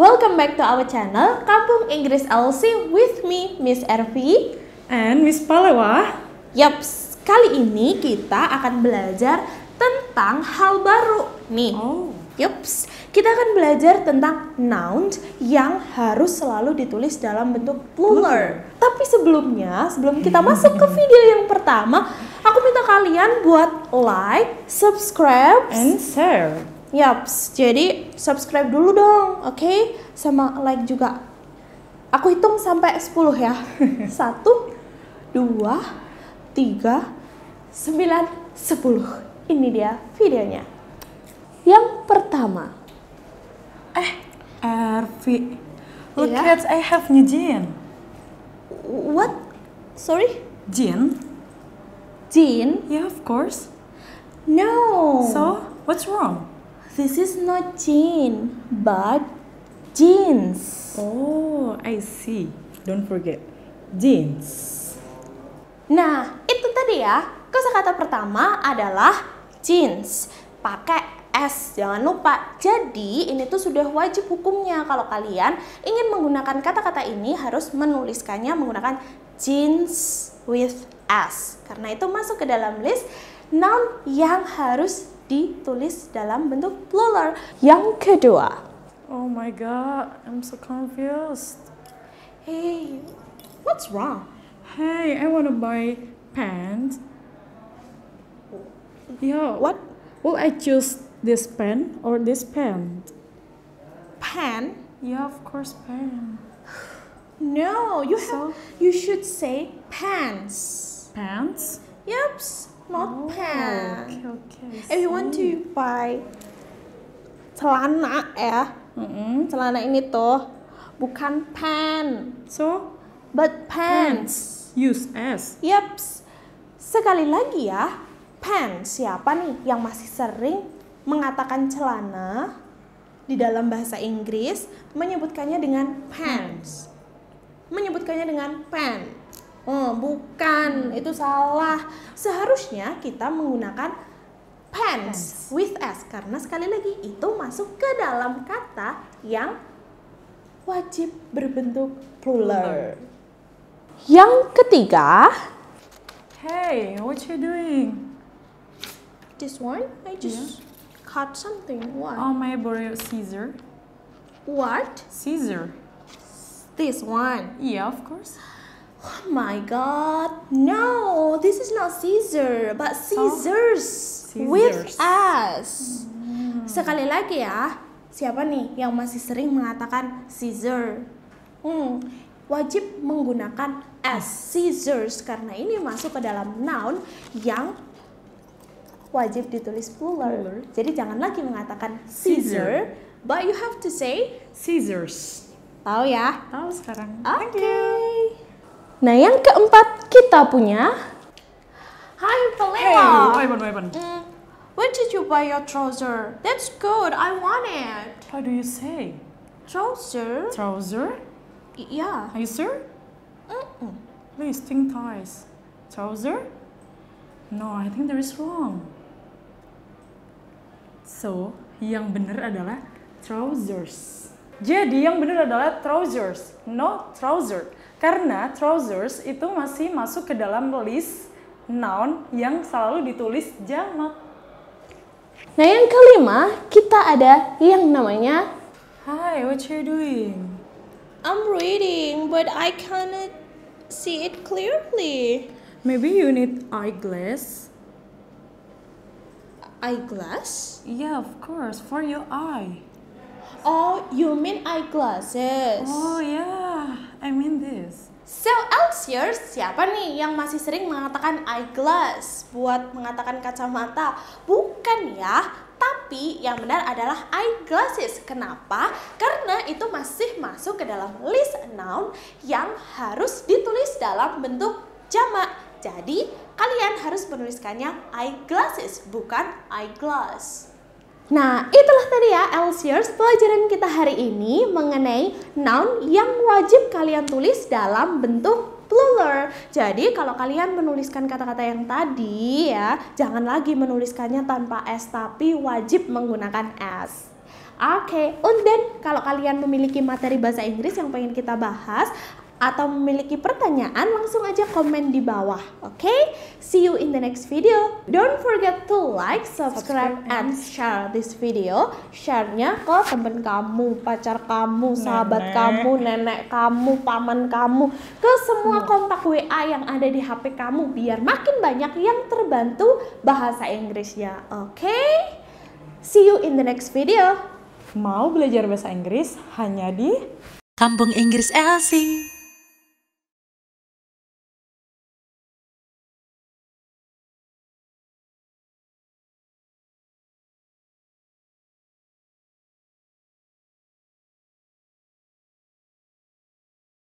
welcome back to our channel Kampung Inggris LC with me Miss Ervi. And Miss Palewa, Yaps, kali ini kita akan belajar tentang hal baru nih. oh, Yups, kita akan belajar tentang noun yang harus selalu ditulis dalam bentuk plural. Tapi sebelumnya, sebelum kita masuk ke video yang pertama, aku minta kalian buat like, subscribe, and sir. Yaps, jadi subscribe dulu dong, oke? Sama like juga. Aku hitung sampai 10 ya. 1, 2, 3, 9, 10. Ini dia videonya. Yang pertama, Ervi, Eh, look Iya. at I have new jean. what? Sorry? Jean? Jean? Yeah, of course. No. So, what's wrong? this is not jean, but jeans. Oh, I see. Don't forget, jeans. Nah, itu tadi ya. Kosakata pertama adalah jeans. Pakai S, jangan lupa. Jadi, ini tuh sudah wajib hukumnya kalau kalian ingin menggunakan kata-kata ini harus menuliskannya menggunakan jeans with S. Karena itu masuk ke dalam list noun yang harus ditulis dalam bentuk plural. Yang kedua, Oh my god, I'm so confused. hey, what's wrong? Hey, I wanna buy pants. Yeah, What Will I choose this pen or this pen? pen? Yeah, of course, pen. No, you have, So? you should say pants. Pants? Yups, not Oh, pants. Okay, okay. If you want to buy celana ya, Mm-mm. celana ini tuh bukan pen, So but pants. use S. Yups. Sekali lagi ya, pants. Siapa nih yang masih sering mengatakan celana di dalam bahasa Inggris menyebutkannya dengan pants. Menyebutkannya dengan pen. Oh, bukan, itu salah. Seharusnya kita menggunakan pants with s karena sekali lagi itu masuk ke dalam kata yang wajib berbentuk plural. Yang ketiga, Hey, what you doing? This one, I just cut something. What? Oh, may I borrow your scissor? what? Scissor? This one. Yeah, of course. Oh my god. No, this is not scissor, but scissors with Scissors. us. Sekali lagi ya, siapa nih yang masih sering mengatakan scissor? Hmm, wajib menggunakan s scissors karena ini masuk ke dalam noun yang wajib ditulis plural. Plural. Jadi jangan lagi mengatakan Scissor. scissor, but you have to say Scissors. tahu ya. Tahu sekarang. Oke. Nah, yang keempat kita punya Hi Hey, Paleo. weapon, weapon. Mm, Where did you buy your trouser? That's good. I want it. How do you say? Trouser? Trouser? Y- Yeah. Are you sure? Mm-mm. Please think twice. Trouser? No, I think there is wrong. So, yang benar adalah trousers. Jadi yang benar adalah trousers, no trouser. Karena trousers itu masih masuk ke dalam list noun yang selalu ditulis jamak. Nah, yang kelima kita ada yang namanya Hi, what you doing? I'm reading, but I cannot see it clearly. Maybe you need eyeglass? Eyeglass? Yeah, of course, for your eye. Oh, you mean eyeglasses? Oh yeah, I mean this. So Elsier, siapa nih yang masih sering mengatakan eyeglass buat mengatakan kacamata? Bukan ya, tapi yang benar adalah eyeglasses. Kenapa? Karena itu masih masuk ke dalam list noun yang harus ditulis dalam bentuk jamak. Jadi, kalian harus menuliskannya eyeglasses, bukan eyeglass. Nah, itulah tadi ya Elsiers pelajaran kita hari ini mengenai noun yang wajib kalian tulis dalam bentuk plural. Jadi kalau kalian menuliskan kata-kata yang tadi ya, jangan lagi menuliskannya tanpa s tapi wajib menggunakan s. Oke, and then kalau kalian memiliki materi bahasa Inggris yang pengen kita bahas atau memiliki pertanyaan langsung aja komen di bawah. Oke? See you in the next video. Don't forget to like, subscribe, Subscribe and share this video. Share-nya ke temen kamu, pacar kamu, sahabat Nenek. kamu, nenek kamu, paman kamu, ke semua kontak WA yang ada di HP kamu biar makin banyak yang terbantu bahasa Inggrisnya. Oke? See you in the next video. Mau belajar bahasa Inggris hanya di Kampung Inggris Elsing.